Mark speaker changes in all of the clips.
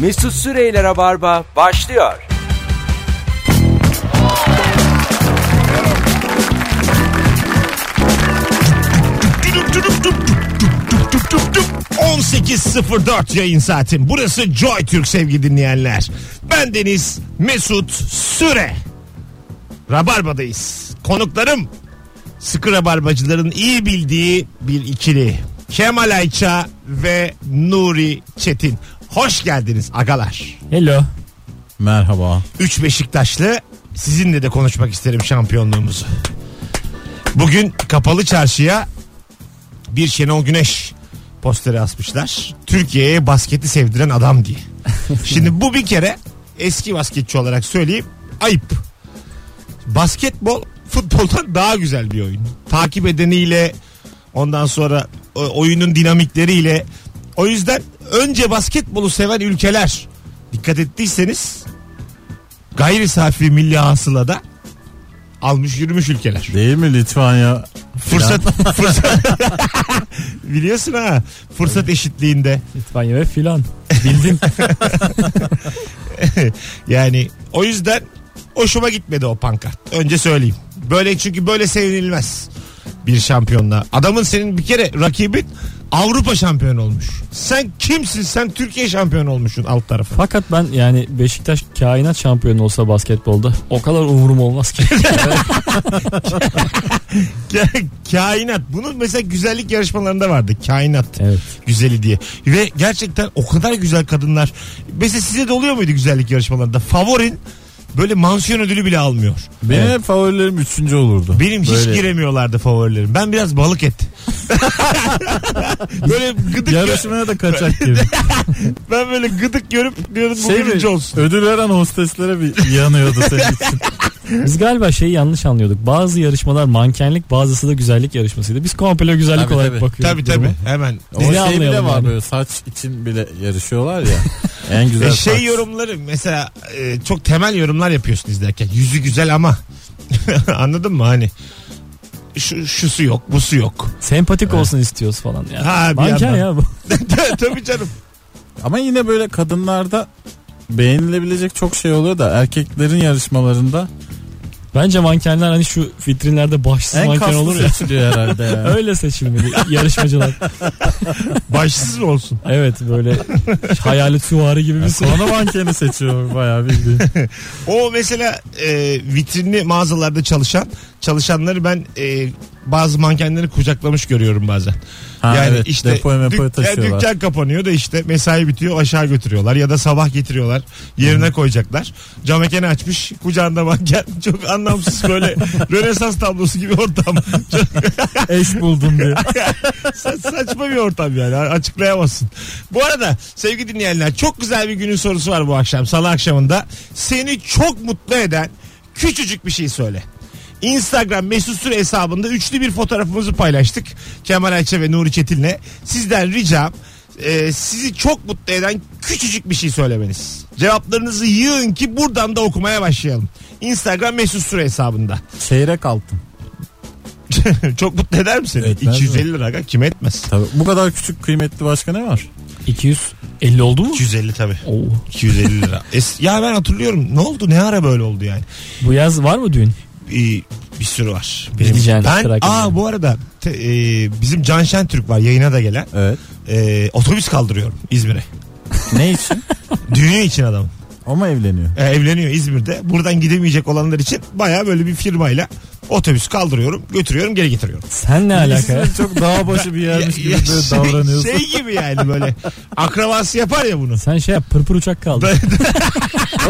Speaker 1: Mesut Süreyler'e barba başlıyor.
Speaker 2: Düdüp düdüp düp düp düp düp düp düp düp. 18.04 yayın saatin. Burası Joy Türk sevgili dinleyenler. Ben Deniz Mesut Süre. Rabarba'dayız. Konuklarım sıkı rabarbacıların iyi bildiği bir ikili. Kemal Ayça ve Nuri Çetin. Hoş geldiniz agalar.
Speaker 3: Hello. Merhaba.
Speaker 2: Üç Beşiktaşlı sizinle de konuşmak isterim şampiyonluğumuzu. Bugün kapalı çarşıya bir Şenol Güneş posteri asmışlar. Türkiye'ye basketi sevdiren adam diye. Şimdi bu bir kere eski basketçi olarak söyleyeyim ayıp. Basketbol futboldan daha güzel bir oyun. Takip edeniyle ondan sonra o- oyunun dinamikleriyle. O yüzden önce basketbolu seven ülkeler dikkat ettiyseniz gayri safi milli hasılada almış yürümüş ülkeler.
Speaker 3: Değil mi Litvanya?
Speaker 2: Fırsat fırsat biliyorsun ha fırsat eşitliğinde
Speaker 4: İspanya ve filan. Bildim.
Speaker 2: yani o yüzden hoşuma gitmedi o pankart önce söyleyeyim böyle çünkü böyle sevinilmez bir şampiyonla adamın senin bir kere rakibin Avrupa şampiyonu olmuş sen kimsin sen Türkiye şampiyonu olmuşsun alt tarafı
Speaker 4: Fakat ben yani Beşiktaş kainat şampiyonu olsa basketbolda o kadar umurum olmaz ki.
Speaker 2: kainat bunun mesela güzellik yarışmalarında vardı kainat
Speaker 4: evet.
Speaker 2: güzeli diye ve gerçekten o kadar güzel kadınlar mesela size de oluyor muydu güzellik yarışmalarında favorin böyle mansiyon ödülü bile almıyor.
Speaker 3: Benim hep favorilerim üçüncü olurdu.
Speaker 2: Benim hiç
Speaker 3: Böyle
Speaker 2: giremiyorlardı favorilerim. Ben biraz balık et. böyle gıdık gö-
Speaker 3: Yarışmaya da kaçak gibi.
Speaker 2: ben böyle gıdık görüp diyorum bu
Speaker 3: şey
Speaker 2: birinci
Speaker 3: mi?
Speaker 2: olsun.
Speaker 3: Ödül veren hosteslere bir yanıyordu senin için.
Speaker 4: Biz galiba şeyi yanlış anlıyorduk. Bazı yarışmalar mankenlik bazısı da güzellik yarışmasıydı. Biz komple güzellik
Speaker 3: Tabii,
Speaker 4: olarak
Speaker 3: tabii.
Speaker 4: bakıyorduk.
Speaker 2: Tabii
Speaker 4: duruma.
Speaker 2: tabii hemen.
Speaker 3: O
Speaker 4: Biz ne
Speaker 3: şey bile
Speaker 4: anlayalım
Speaker 3: var
Speaker 4: yani?
Speaker 3: böyle saç için bile yarışıyorlar ya. en güzel
Speaker 2: E şey
Speaker 3: saç.
Speaker 2: yorumları mesela e, çok temel yorumlar yapıyorsun izlerken. Yüzü güzel ama anladın mı hani şu, şusu yok busu yok.
Speaker 4: Sempatik olsun istiyoruz falan. Yani.
Speaker 2: Ha, bir
Speaker 4: Manken
Speaker 2: yandan.
Speaker 4: ya bu.
Speaker 2: Tabii canım.
Speaker 3: Ama yine böyle kadınlarda beğenilebilecek çok şey oluyor da erkeklerin yarışmalarında
Speaker 4: Bence mankenler hani şu vitrinlerde başsız
Speaker 3: en
Speaker 4: manken
Speaker 3: kaslı
Speaker 4: olur ya.
Speaker 3: seçiliyor herhalde ya.
Speaker 4: Öyle seçilmeli yarışmacılar.
Speaker 2: Başsız mı olsun?
Speaker 4: Evet böyle hayali süvari gibi bir
Speaker 3: Yani
Speaker 4: şey.
Speaker 3: Konu mankeni seçiyor bayağı bildiğin.
Speaker 2: O mesela e, vitrinli mağazalarda çalışan çalışanları ben e, bazı mankenleri kucaklamış görüyorum bazen.
Speaker 3: Ha,
Speaker 2: yani
Speaker 3: evet,
Speaker 2: işte
Speaker 3: depoya mepoya
Speaker 2: dük- yani
Speaker 3: taşıyorlar.
Speaker 2: dükkan kapanıyor da işte mesai bitiyor aşağı götürüyorlar ya da sabah getiriyorlar yerine koyacaklar. Cam ekeni açmış kucağında manken çok anlamsız böyle Rönesans tablosu gibi ortam. Çok
Speaker 3: Eş buldum diye.
Speaker 2: sa- saçma bir ortam yani a- açıklayamazsın. Bu arada sevgili dinleyenler çok güzel bir günün sorusu var bu akşam salı akşamında. Seni çok mutlu eden küçücük bir şey söyle. Instagram mesut süre hesabında üçlü bir fotoğrafımızı paylaştık. Kemal Ayça ve Nuri Çetin'le. Sizden ricam e, sizi çok mutlu eden küçücük bir şey söylemeniz. Cevaplarınızı yığın ki buradan da okumaya başlayalım. Instagram mesut süre hesabında.
Speaker 3: Çeyrek altın.
Speaker 2: çok mutlu eder mi seni?
Speaker 3: Etmez mi?
Speaker 2: 250 lira aga, kime etmez?
Speaker 3: Tabii bu kadar küçük kıymetli başka ne var?
Speaker 4: 250 oldu mu?
Speaker 2: 250 tabii.
Speaker 4: Oo.
Speaker 2: 250 lira. Es- ya ben hatırlıyorum. Ne oldu? Ne ara böyle oldu yani?
Speaker 4: Bu yaz var mı düğün?
Speaker 2: Ee, bir sürü var.
Speaker 4: Gideceğiniz
Speaker 2: ben,
Speaker 4: merak
Speaker 2: aa
Speaker 4: ediyorum.
Speaker 2: bu arada te- e, bizim Can Şentürk var yayına da gelen.
Speaker 3: Evet.
Speaker 2: E, otobüs kaldırıyorum İzmir'e.
Speaker 3: Ne için?
Speaker 2: Düğünü için adam.
Speaker 3: O mu evleniyor?
Speaker 2: E, evleniyor İzmir'de. Buradan gidemeyecek olanlar için baya böyle bir firmayla otobüs kaldırıyorum, götürüyorum, geri getiriyorum.
Speaker 4: Sen ne alaka? ya?
Speaker 3: İkisi de Çok dağ başı bir yermiş gibi
Speaker 2: Ya- ya
Speaker 3: böyle davranıyorsun.
Speaker 2: Şey, şey gibi yani böyle akrabası yapar ya bunu.
Speaker 4: Sen şey yap pırpır uçak kaldı.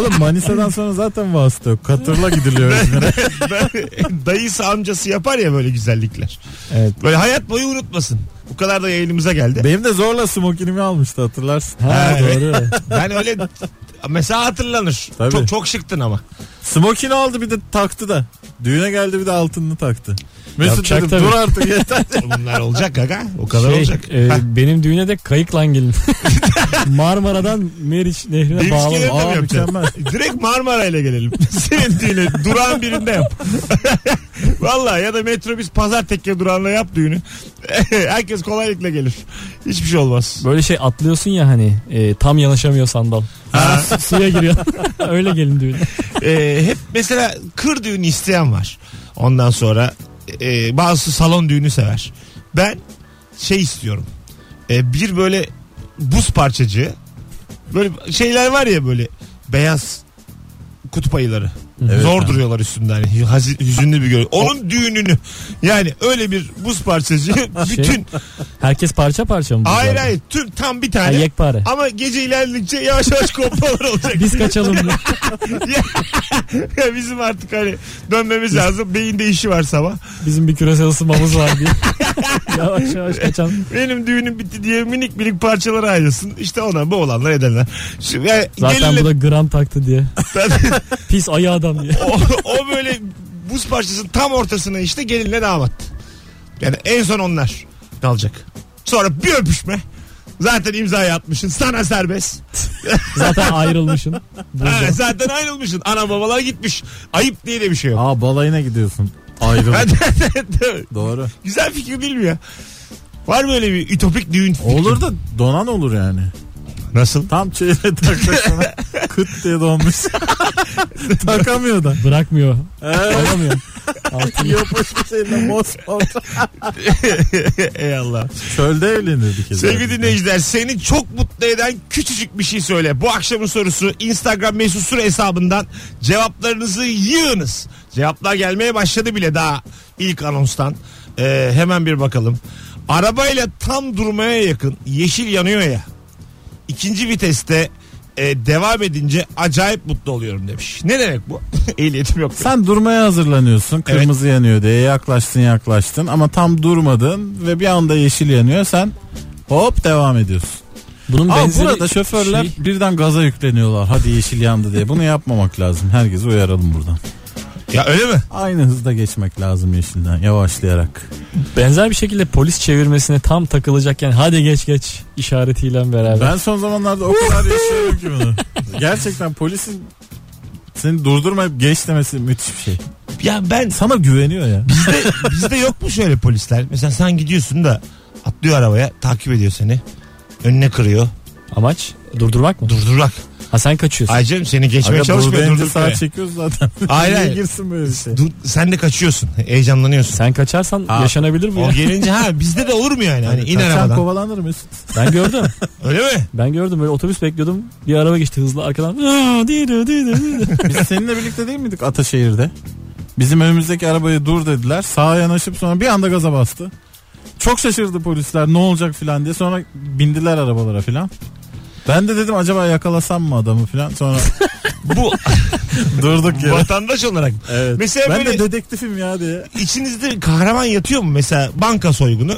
Speaker 3: Oğlum Manisa'dan sonra zaten vasıta yok. Katırla gidiliyor İzmir'e.
Speaker 2: Dayısı amcası yapar ya böyle güzellikler.
Speaker 4: Evet.
Speaker 2: Böyle hayat boyu unutmasın. Bu kadar da yayınımıza geldi.
Speaker 3: Benim de zorla smokinimi almıştı hatırlarsın.
Speaker 4: Ha,
Speaker 2: Ha,
Speaker 4: doğru.
Speaker 2: Ben öyle mesela hatırlanır.
Speaker 3: Tabii.
Speaker 2: Çok çok şıktın ama.
Speaker 3: Smokini aldı bir de taktı da. Düğüne geldi bir de altınını taktı. Mesut
Speaker 4: Yapacak
Speaker 3: dedim
Speaker 4: tabii.
Speaker 3: dur artık yeter.
Speaker 2: Bunlar olacak gaga. O kadar
Speaker 4: Şey,
Speaker 2: olacak.
Speaker 4: e, benim düğüne de kayıkla gelin. Marmara'dan Meriç Nehri'ne
Speaker 2: Deniz
Speaker 4: bağlı.
Speaker 2: kenarında mı
Speaker 3: Aa
Speaker 2: yapacaksın?
Speaker 3: mükemmel.
Speaker 2: Direkt Marmara ile gelelim. Senin düğüne durağın birinde yap. Valla ya da metrobüs pazar tekke durağında yap düğünü. Herkes kolaylıkla gelir. Hiçbir şey olmaz.
Speaker 4: Böyle şey atlıyorsun ya hani e, tam yanaşamıyor sandal.
Speaker 2: Ha.
Speaker 4: Su- Suya giriyor. Öyle gelin düğüne.
Speaker 2: Ee, hep mesela kır düğünü isteyen var. Ondan sonra e, bazısı salon düğünü sever. Ben şey istiyorum. E, bir böyle buz parçacığı. Böyle şeyler var ya böyle beyaz kutup ayıları.
Speaker 3: Evet,
Speaker 2: Zor
Speaker 3: ha.
Speaker 2: duruyorlar üstünde hani hü- hazi- hüzünlü bir görüntü. Onun düğününü yani öyle bir buz parçacığı bütün
Speaker 4: Herkes parça parça mı? bu
Speaker 2: hayır
Speaker 4: zaten?
Speaker 2: hayır tüm tam bir
Speaker 4: Ha,
Speaker 2: tane
Speaker 4: yekpare.
Speaker 2: ama gece ilerledikçe yavaş yavaş kopalar olacak.
Speaker 4: Biz kaçalım. diye.
Speaker 2: Ya bizim artık hani dönmemiz lazım. Beyinde işi var sabah.
Speaker 4: Bizim bir küresel ısınmamız var diye. yavaş yavaş kaçan.
Speaker 2: Benim düğünüm bitti diye minik minik parçalara ayrılsın. İşte ona bu olanlar edenler. Şimdi yani
Speaker 4: Zaten bu
Speaker 2: gelinle-
Speaker 4: da gram taktı diye. Pis ayı adam diye.
Speaker 2: o, o böyle buz parçasının tam ortasına işte gelinle damat. Yani en son onlar kalacak. Sonra bir öpüşme. Zaten imzayı atmışsın. Sana serbest.
Speaker 4: Zaten ayrılmışsın.
Speaker 2: Ha,
Speaker 4: Burada.
Speaker 2: zaten ayrılmışsın. Ana babalar gitmiş. Ayıp diye de bir şey yok.
Speaker 3: Aa balayına gidiyorsun. Ayrıl. Doğru.
Speaker 2: Güzel fikir değil mi ya? Var böyle bir ütopik düğün fikri.
Speaker 3: Olur da donan olur yani.
Speaker 2: Nasıl?
Speaker 3: Tam çeyreğe taklasana kıt diye donmuş. Takamıyor da.
Speaker 4: Bırakmıyor.
Speaker 3: Ee,
Speaker 4: Ayrılmıyor. Altını.
Speaker 3: yapış bir şeyle mosmor.
Speaker 2: Ey Allah.
Speaker 3: Çölde evlenirdik.
Speaker 2: Sevgili dinleyiciler seni çok mutlu eden küçücük bir şey söyle. Bu akşamın sorusu Instagram mesut süre hesabından cevaplarınızı yığınız. Cevaplar gelmeye başladı bile daha ilk anonstan. Ee, hemen bir bakalım. Arabayla tam durmaya yakın yeşil yanıyor ya. İkinci viteste e, devam edince acayip mutlu oluyorum demiş. Ne demek bu? Ehliyetim yok.
Speaker 3: Sen durmaya hazırlanıyorsun. Kırmızı yanıyor diye yaklaştın yaklaştın ama tam durmadın ve bir anda yeşil yanıyor. Sen hop devam ediyorsun.
Speaker 4: Bunun
Speaker 3: Ama
Speaker 4: benzeri
Speaker 3: burada şoförler
Speaker 4: şey-
Speaker 3: birden gaza yükleniyorlar. Hadi yeşil yandı diye. Bunu yapmamak lazım. Herkesi uyaralım buradan.
Speaker 2: Ya öyle mi?
Speaker 3: Aynı hızda geçmek lazım yeşilden yavaşlayarak.
Speaker 4: benzer bir şekilde polis çevirmesine tam takılacakken hadi geç geç işaretiyle beraber.
Speaker 3: Ben son zamanlarda o kadar yaşıyorum ki bunu. Gerçekten polisin seni durdurmayıp geç demesi müthiş bir şey.
Speaker 2: Ya ben
Speaker 3: Sana güveniyor ya.
Speaker 2: Bizde yok mu şöyle polisler? Mesela sen gidiyorsun da atlıyor arabaya takip ediyor seni. Önüne kırıyor.
Speaker 4: Amaç durdurmak mı?
Speaker 2: Durdurak.
Speaker 4: Ha sen kaçıyorsun.
Speaker 2: Aycem seni geçmeye
Speaker 3: Aga
Speaker 2: çalışmıyor.
Speaker 3: durdurunca sağa
Speaker 2: Durdurmaya.
Speaker 3: çekiyoruz zaten.
Speaker 2: Hayır,
Speaker 3: Niye
Speaker 2: hayır.
Speaker 3: girsin böyle bir şey?
Speaker 2: Dur, sen de kaçıyorsun. Heyecanlanıyorsun.
Speaker 4: Sen kaçarsan
Speaker 3: Ha,
Speaker 4: yaşanabilir bu
Speaker 2: O
Speaker 4: ya.
Speaker 2: gelince ha bizde de olur mu yani? Hani in
Speaker 3: Kaçan
Speaker 2: arabadan.
Speaker 3: kovalanır Mesut.
Speaker 4: Ben gördüm.
Speaker 2: Öyle mi?
Speaker 4: Ben gördüm böyle otobüs bekliyordum. Bir araba geçti hızlı arkadan. "Aa, diyor, diyor, diyor."
Speaker 3: Biz seninle birlikte değil miydik Ataşehir'de? Bizim önümüzdeki arabaya dur dediler. Sağa yanaşıp sonra bir anda gaza bastı. Çok şaşırdı polisler ne olacak filan diye. Sonra bindiler arabalara filan. Ben de dedim acaba yakalasam mı adamı filan. Sonra
Speaker 2: Bu
Speaker 3: durduk yere.
Speaker 2: vatandaş olarak.
Speaker 3: Evet.
Speaker 2: Mesela
Speaker 3: ben
Speaker 2: böyle-
Speaker 3: de dedektifim ya diye.
Speaker 2: içinizde kahraman yatıyor mu? Mesela banka soygunu.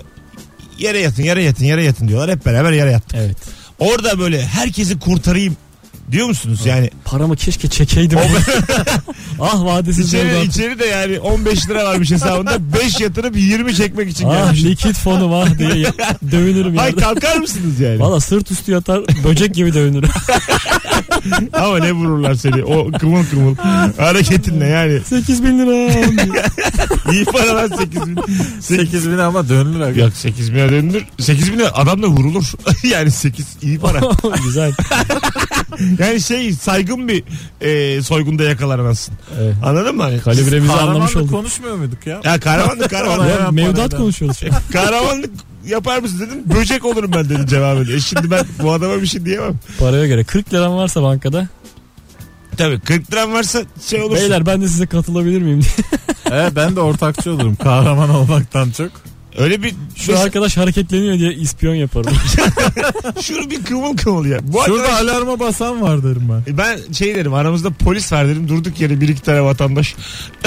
Speaker 2: Yere yatın, yere yatın, yere yatın diyorlar. Hep beraber yere yattık.
Speaker 4: evet.
Speaker 2: Orada böyle herkesi kurtarayım diyor musunuz? Yani
Speaker 4: Paramı keşke çekeydim. ah vadesiz
Speaker 2: İçeri,
Speaker 4: mevduat.
Speaker 2: içeri de yani 15 lira varmış hesabında 5 yatırıp 20 çekmek için
Speaker 4: Ah
Speaker 2: gelmiş.
Speaker 4: likit fonum ah diye ya- dövünürüm
Speaker 2: Ay
Speaker 4: yerde.
Speaker 2: kalkar mısınız yani?
Speaker 4: Valla sırt üstü yatar böcek gibi dövünürüm.
Speaker 2: Ama ne vururlar seni o kımıl kımıl hareketinle yani.
Speaker 4: 8 bin lira.
Speaker 2: İyi para lan 8 bin.
Speaker 3: 8 bin ama dönülür. aga.
Speaker 2: Yok 8 bine dönülür. 8 bine adam da vurulur. yani 8 iyi para.
Speaker 4: Güzel.
Speaker 2: Yani şey saygın bir e, soygunda yakalanamazsın.
Speaker 4: Evet.
Speaker 2: Anladın mı? Hani?
Speaker 4: Kalibremizi anlamış
Speaker 3: Kahramanla
Speaker 4: olduk.
Speaker 3: konuşmuyor muyduk ya?
Speaker 2: Ya kahramanlık
Speaker 3: Ona
Speaker 2: kahramanlık.
Speaker 3: ya.
Speaker 4: Ya, mevduat
Speaker 3: parayla.
Speaker 4: konuşuyoruz şu an.
Speaker 2: kahramanlık yapar mısın dedim. Böcek olurum ben dedim cevabı. E şimdi ben bu adama bir şey diyemem.
Speaker 4: Paraya göre 40 liram varsa bankada.
Speaker 2: Tabii 40 liram varsa şey olursun.
Speaker 4: Beyler ben de size katılabilir miyim diye.
Speaker 3: He, ben de ortakçı olurum kahraman olmaktan çok.
Speaker 2: Öyle bir
Speaker 4: Şu arkadaş hareketleniyor diye ispiyon yaparım.
Speaker 2: Şur bir kıvıl kıvıl ya. Bu
Speaker 3: Şurada
Speaker 2: arkadaş-
Speaker 3: alarma basan var derim ben.
Speaker 2: ben şey derim aramızda polis var derim durduk yere bir iki tane vatandaş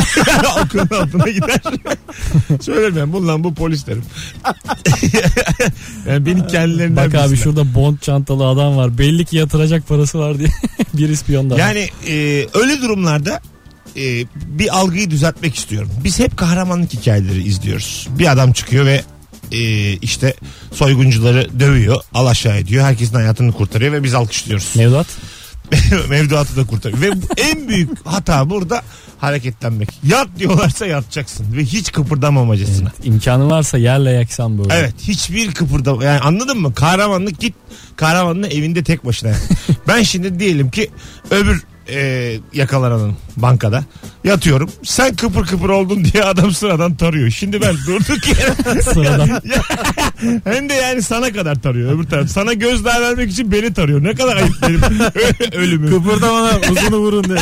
Speaker 2: okulun altına gider. Söylerim ben bundan bu polis derim. yani beni kendilerinden
Speaker 4: Bak abi
Speaker 2: bilsinler.
Speaker 4: şurada bond çantalı adam var. Belli ki yatıracak parası var diye. bir ispiyon daha.
Speaker 2: Yani e, öyle durumlarda e, bir algıyı düzeltmek istiyorum. Biz hep kahramanlık hikayeleri izliyoruz. Bir adam çıkıyor ve e, işte soyguncuları dövüyor, al aşağı ediyor. Herkesin hayatını kurtarıyor ve biz alkışlıyoruz.
Speaker 4: Mevduat.
Speaker 2: Mevduatı da kurtarıyor. Ve bu- en büyük hata burada hareketlenmek. Yat diyorlarsa yatacaksın ve hiç kıpırdamamacasına.
Speaker 4: İmkanı varsa yerle yaksan böyle.
Speaker 2: Evet hiçbir kıpırdama yani anladın mı? Kahramanlık git kahramanlığı evinde tek başına. yap. ben şimdi diyelim ki öbür e, yakalananım bankada yatıyorum. Sen kıpır kıpır oldun diye adam sıradan tarıyor. Şimdi ben durduk yere
Speaker 4: Sıradan.
Speaker 2: hem de yani sana kadar tarıyor öbür taraf. Sana gözdağı vermek için beni tarıyor. Ne kadar ayıp benim ölümü.
Speaker 3: Kıpırdamadan uzunu vurun diye.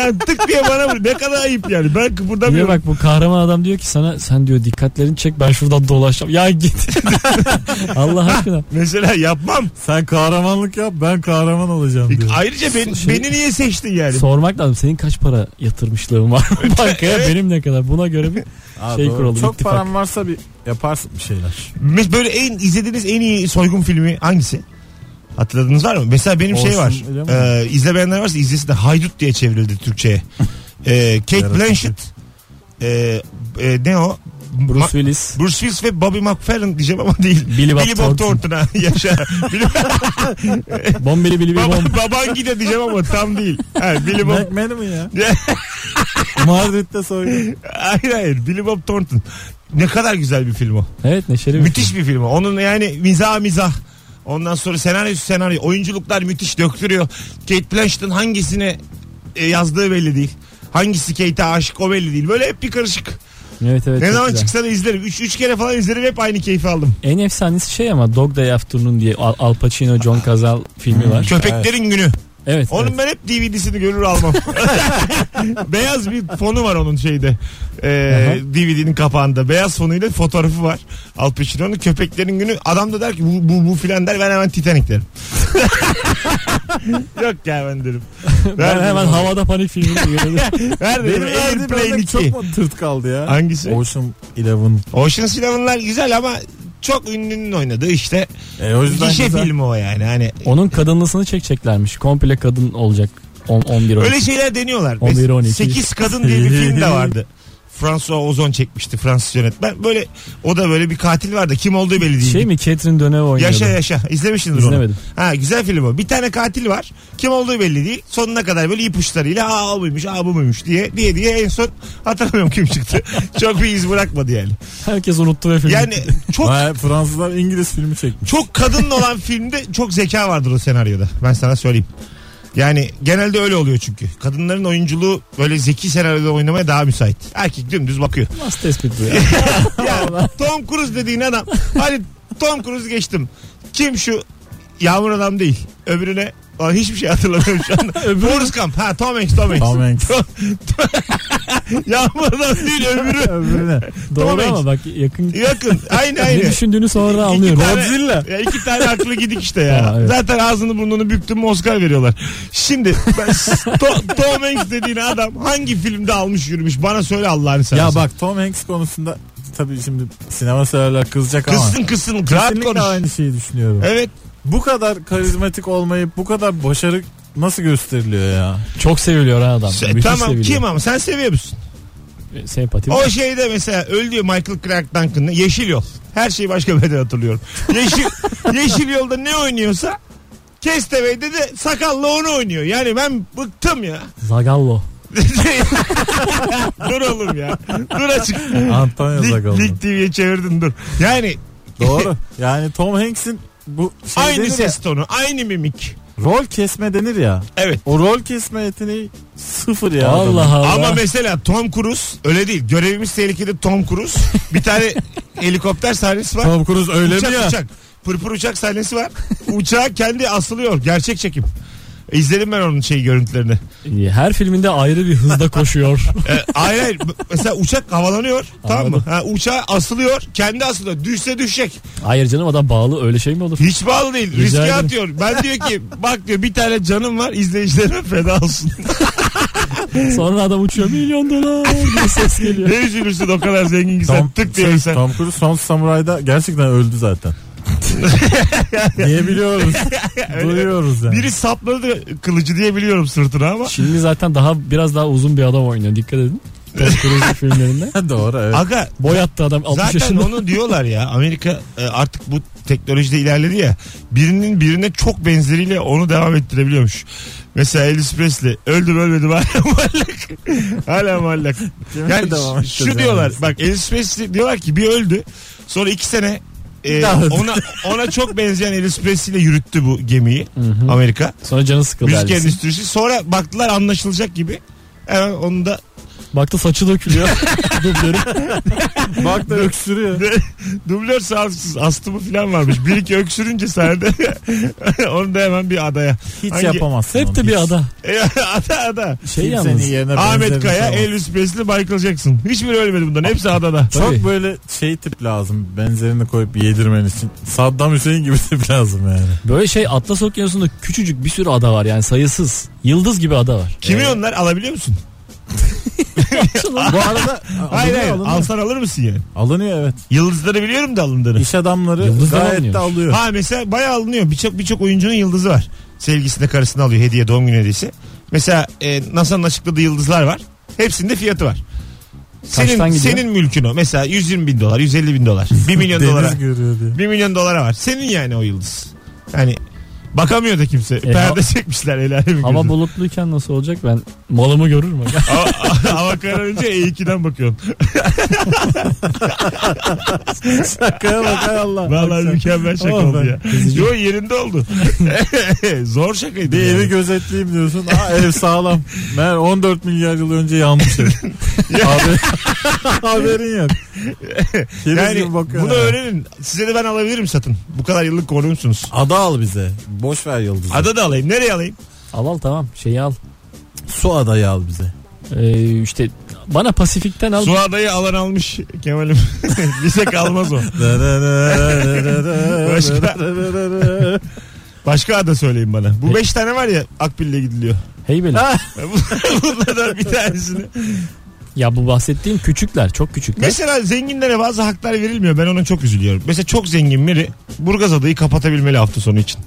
Speaker 2: Yani tık diye bana vur. Ne kadar ayıp yani. Ben
Speaker 4: Niye
Speaker 2: kıpırdamıyorum.
Speaker 4: bak bu kahraman adam diyor ki sana sen diyor dikkatlerini çek ben şuradan dolaşacağım. Ya git. Allah aşkına.
Speaker 2: Mesela yapmam.
Speaker 3: Sen kahramanlık yap ben kahraman olacağım diyor.
Speaker 2: Ayrıca ben,
Speaker 4: Şey-
Speaker 2: beni niye seçtin yani?
Speaker 4: Sormak lazım senin kaç para yatırmışlığın var mı bankaya benim ne kadar buna göre bir
Speaker 3: Aa,
Speaker 4: şey
Speaker 3: doğru.
Speaker 4: kuralım,
Speaker 3: Çok
Speaker 4: ittifak.
Speaker 3: paran varsa bir yaparsın bir şeyler.
Speaker 2: Mes- Böyle en izlediğiniz en iyi soygun filmi hangisi? Hatırladığınız var mı? Mesela benim şey
Speaker 3: Orson
Speaker 2: var.
Speaker 3: öyle mi?
Speaker 2: Ee, izlemeyenler varsa izlesin de Haydut diye çevrildi Türkçe'ye. Ee, Kate
Speaker 3: Yaratıcı.
Speaker 2: Blanchett. Ee, e, ne o?
Speaker 4: Bruce
Speaker 2: Ma-
Speaker 4: Willis
Speaker 2: Bruce Willis ve Bobby McFerrin diyeceğim ama değil.
Speaker 4: Billy Bob
Speaker 2: Billy Bob Thornton. ha, Yaşa. Billy-
Speaker 4: bombeli bili bir
Speaker 2: Baba,
Speaker 4: bomb.
Speaker 2: baban gide diyeceğim ama tam değil. Ha, Billy Bob.
Speaker 3: Black mi ya? Mardit'te soygun.
Speaker 2: hayır hayır. Billy Bob Thornton. Ne kadar güzel bir film o.
Speaker 4: Evet neşeli bir
Speaker 2: Müthiş bir film. o. Onun yani mizah mizah. Ondan sonra senaryosu senaryo. Oyunculuklar müthiş döktürüyor. Kate Blanchett'ın hangisine e, yazdığı belli değil. Hangisi Kate'e aşık o belli değil. Böyle hep bir karışık.
Speaker 4: film. Evet evet.
Speaker 2: ne
Speaker 4: çok
Speaker 2: zaman
Speaker 4: güzel.
Speaker 2: çıksa da izlerim. 3 üç kere falan izlerim hep aynı keyfi aldım.
Speaker 4: En efsanesi şey ama Dog Day Afternoon diye Al, Al Pacino, John Cazale
Speaker 2: Hmm.
Speaker 4: filmi var.
Speaker 2: Köpeklerin günü.
Speaker 4: Evet.
Speaker 2: Onun
Speaker 4: evet.
Speaker 2: ben hep DVD'sini görür almam. Beyaz bir fonu var onun şeyde. Ee, DVD'nin kapağında. Beyaz fonuyla fotoğrafı var. Al Pacino'nun köpeklerin günü. Adam da der ki bu, bu, bu filan der ben hemen Titanic derim. Yok ya ben derim.
Speaker 4: Ben hemen havada panik filmini görüyorum.
Speaker 2: Ver derim.
Speaker 3: Benim verdiğim
Speaker 2: Airplane
Speaker 3: örnek
Speaker 2: 2.
Speaker 3: çok mu tırt kaldı ya?
Speaker 2: Hangisi?
Speaker 3: Ocean Eleven.
Speaker 2: Ocean's Eleven'lar güzel ama çok ünlünün oynadığı işte
Speaker 3: E, o yüzden
Speaker 2: gişe
Speaker 3: güzel.
Speaker 2: filmi o yani. Hani
Speaker 4: Onun kadınlısını çekeceklermiş. Komple kadın olacak. 10 11
Speaker 2: Öyle şey şeyler deniyorlar.
Speaker 4: 11, 12.
Speaker 2: 8 Kadın diye bir film de vardı. François Ozon çekmişti Fransız yönetmen. Böyle o da böyle bir katil vardı. Kim olduğu belli değil.
Speaker 4: Şey mi Catherine Deneuve oynuyordu.
Speaker 2: yaşa yaşa. İzlemişsiniz onu.
Speaker 4: İzlemedim.
Speaker 2: Ha güzel film o. Bir tane katil var. Kim olduğu belli değil. Sonuna kadar böyle ipuçlarıyla aa o buymuş, aa bu muymuş diye diye diye en son hatırlamıyorum kim çıktı. Çok bir iz bırakmadı yani.
Speaker 4: Herkes unuttu ve filmi.
Speaker 2: Yani çok
Speaker 3: Vay, Fransızlar İngiliz filmi çekmiş.
Speaker 2: çok kadın olan filmde çok zeka vardır o senaryoda. Ben sana söyleyeyim. Yani genelde öyle oluyor çünkü. Kadınların oyunculuğu böyle zeki senaryoda oynamaya daha müsait. Erkek dümdüz bakıyor.
Speaker 4: Nasıl tespit bu ya?
Speaker 2: Ya Tom Cruise dediğin adam. Hadi Tom Cruise geçtim. Kim şu? Yağmur adam değil. Öbürüne Aa, hiçbir şey hatırlamıyorum şu anda. Forrest Gump. Ha Tom Hanks, Tom Hanks.
Speaker 3: Tom Hanks.
Speaker 2: Yağmur adam değil öbürü.
Speaker 3: Öbürüne.
Speaker 4: Doğru
Speaker 2: Hanks.
Speaker 4: ama bak yakın.
Speaker 2: Yakın. Aynı
Speaker 4: ne
Speaker 2: aynı.
Speaker 4: düşündüğünü sonra anlıyorum.
Speaker 2: tane-
Speaker 3: Godzilla.
Speaker 2: Ya iki tane aklı gidik işte ya.
Speaker 4: Ha, evet.
Speaker 2: Zaten ağzını burnunu büktün mü Oscar veriyorlar. Şimdi ben To- Tom Hanks dediğin adam hangi filmde almış yürümüş bana söyle Allah'ını seversen.
Speaker 3: Ya bak Tom Hanks konusunda tabii şimdi sinema severler kızacak ama.
Speaker 2: Kızsın kızsın rahat
Speaker 3: Kesinlikle
Speaker 2: konuş.
Speaker 3: aynı şeyi düşünüyorum.
Speaker 2: Evet
Speaker 3: Bu kadar karizmatik olmayıp bu kadar başarı nasıl gösteriliyor ya?
Speaker 4: Çok seviliyor ha adam.
Speaker 2: se-
Speaker 4: Müthiş
Speaker 2: tamam
Speaker 4: seviliyor.
Speaker 2: kim ama sen seviyor musun?
Speaker 4: E, Sempati.
Speaker 2: O şeyde mesela öldü ya Michael Clark Duncan'da Yeşil Yol. Her şeyi başka bir yerde hatırlıyorum. Yeşil, Yeşil Yol'da ne oynuyorsa Kestebey'de de sakallı onu oynuyor. Yani ben bıktım ya.
Speaker 4: Zagallo.
Speaker 2: dur oğlum ya. Dur açık.
Speaker 3: Antonio
Speaker 2: Lig,
Speaker 3: Zagallo.
Speaker 2: Lig TV'ye çevirdin dur. Yani
Speaker 3: Doğru. Yani Tom Hanks'in bu şey
Speaker 2: aynı
Speaker 3: denir ya,
Speaker 2: ses tonu, aynı mimik.
Speaker 3: rol kesme denir ya.
Speaker 2: Evet.
Speaker 3: O rol kesme yeteneği sıfır ya. adamın.
Speaker 4: Allah Allah.
Speaker 2: Ama mesela Tom Cruise öyle değil. Görevimiz tehlikede Tom Cruise. Bir tane helikopter sahnesi var.
Speaker 3: Tom Cruise öyle mi
Speaker 2: uçak
Speaker 3: ya?
Speaker 2: uçak. Pırpır uçak sahnesi var. Uçağa kendi asılıyor. Gerçek çekim. İzledim ben onun şey görüntülerini.
Speaker 4: Her filminde ayrı bir hızda koşuyor.
Speaker 2: Ee, hayır hayır. Mesela uçak havalanıyor. Tamam mı? Ha, uçağa asılıyor. Kendi asılıyor. Düşse düşecek.
Speaker 4: Hayır canım adam bağlı öyle şey mi olur?
Speaker 2: Hiç bağlı değil.
Speaker 4: Rica
Speaker 2: Riske
Speaker 4: ederim.
Speaker 2: atıyor. Ben diyor ki bak diyor bir tane canım var izleyicilerime feda olsun.
Speaker 4: Sonra adam uçuyor milyon dolar diye ses geliyor.
Speaker 2: ne üzülürsün o kadar zengin ki sen
Speaker 3: Tom,
Speaker 2: tık
Speaker 3: şey,
Speaker 2: diye sen.
Speaker 3: Tom Cruise son samurayda gerçekten öldü zaten. Diyebiliyoruz. Duyuyoruz yani.
Speaker 2: Biri sapladı kılıcı diye biliyorum sırtına ama.
Speaker 4: Şimdi zaten daha biraz daha uzun bir adam oynuyor dikkat edin. Tom Cruise'un filmlerinde.
Speaker 3: Doğru evet.
Speaker 2: Aga
Speaker 4: Boyattı adam 60
Speaker 2: Zaten
Speaker 4: yaşında.
Speaker 2: onu diyorlar ya Amerika e, artık bu teknolojide ilerledi ya birinin birine çok benzeriyle onu devam ettirebiliyormuş. Mesela Elvis Presley öldüm ölmedim hala muallak. hala muallak. Yani
Speaker 3: Devam
Speaker 2: şu
Speaker 3: edeceğiz
Speaker 2: diyorlar
Speaker 3: yani.
Speaker 2: bak Elvis Presley diyorlar ki bir öldü sonra iki sene e,
Speaker 3: Daha öldü.
Speaker 2: ona ona çok benzeyen Elvis Presley ile yürüttü bu gemiyi
Speaker 4: Hı hı.
Speaker 2: Amerika.
Speaker 4: Sonra canı sıkıldı.
Speaker 2: Müzik
Speaker 4: Elvis'in.
Speaker 2: endüstrisi. Sonra baktılar anlaşılacak gibi. Hemen onu da
Speaker 4: Baktı saçı dökülüyor. Dublörü.
Speaker 3: Bak da öksürüyor.
Speaker 2: Dublör sağlıksız astımı falan varmış. Bir iki öksürünce sahnede onu da hemen bir adaya.
Speaker 3: Hiç
Speaker 2: Hangi-
Speaker 3: yapamazsın.
Speaker 4: Hep de bir ada.
Speaker 2: E, ada ada.
Speaker 4: Şey
Speaker 3: Kimsenin
Speaker 4: yalnız.
Speaker 3: yerine benzer
Speaker 2: Ahmet
Speaker 3: bir
Speaker 2: Kaya,
Speaker 3: şey
Speaker 2: Elvis Presley, Michael Jackson. Hiçbiri ölmedi bunların. Hepsi adada.
Speaker 3: Çok
Speaker 4: Tabii.
Speaker 3: böyle şey tip lazım. Benzerini koyup yedirmen için. Saddam Hüseyin gibi tip lazım yani.
Speaker 4: Böyle şey Atlas Okyanusu'nda küçücük bir sürü ada var yani sayısız. Yıldız gibi ada var.
Speaker 2: Kimi onlar alabiliyor musun?
Speaker 3: Bu arada
Speaker 2: Hayır hayır.
Speaker 3: Alınıyor,
Speaker 2: Alsan alır mısın yani?
Speaker 3: Alınıyor, evet.
Speaker 2: Yıldızları biliyorum da alındığını.
Speaker 3: İş adamları
Speaker 4: Yıldızlar
Speaker 3: gayet de
Speaker 4: alınıyor.
Speaker 3: alıyor.
Speaker 2: Ha mesela bayağı alınıyor. Birçok birçok oyuncunun yıldızı var. Sevgisine karısına alıyor hediye doğum günü hediyesi. Mesela e, NASA'nın açıkladığı yıldızlar var. Hepsinde fiyatı var. Senin,
Speaker 4: Kaçtan gidiyor?
Speaker 2: senin mülkün o. Mesela 120 bin dolar, 150 bin dolar, 1 milyon
Speaker 3: Deniz
Speaker 2: dolara.
Speaker 3: görüyor diye.
Speaker 2: 1 milyon dolara var. Senin yani o yıldız. Yani bakamıyor da kimse.
Speaker 4: E,
Speaker 2: Perde çekmişler el alemin
Speaker 4: Hava
Speaker 2: gözüne.
Speaker 4: bulutluyken nasıl olacak ben malımı görür mü?
Speaker 2: Hava, hava kararınca E2'den bakıyorsun.
Speaker 3: Şakaya bak hay Allah.
Speaker 2: Vallahi
Speaker 3: Bak sen.
Speaker 2: mükemmel şaka
Speaker 3: Aman
Speaker 2: oldu
Speaker 3: ben
Speaker 2: ya. Yo yerinde oldu. Zor şakaydı.
Speaker 3: Bir
Speaker 2: yani.
Speaker 3: evi gözetleyeyim diyorsun. Aa ev sağlam. Meğer 14 milyar yıl önce yanmış ev. Haber- Haberin yok. Keriz
Speaker 2: Yani
Speaker 3: gibi bakıyor
Speaker 2: bunu
Speaker 3: yani.
Speaker 2: öğrenin. Size de ben alabilirim satın. Bu kadar yıllık konuğumsunuz.
Speaker 3: Ada al bize. Boş ver yıldızı.
Speaker 2: Ada da alayım. Nereye alayım?
Speaker 4: al al tamam şeyi al.
Speaker 3: Su adayı al bize.
Speaker 4: Ee, işte bana Pasifik'ten al.
Speaker 2: Su adayı alan almış Kemal'im. Bize kalmaz o. Başka? Başka ada söyleyin bana.
Speaker 3: E-
Speaker 2: Bu beş tane var ya Akbil'le gidiliyor.
Speaker 4: Heybeli.
Speaker 2: Bunlardan bir tanesini.
Speaker 4: Ya bu bahsettiğim küçükler çok küçükler.
Speaker 2: Mesela zenginlere bazı haklar verilmiyor. Ben ona çok üzülüyorum. Mesela çok zengin biri Burgaz adayı kapatabilmeli hafta sonu için.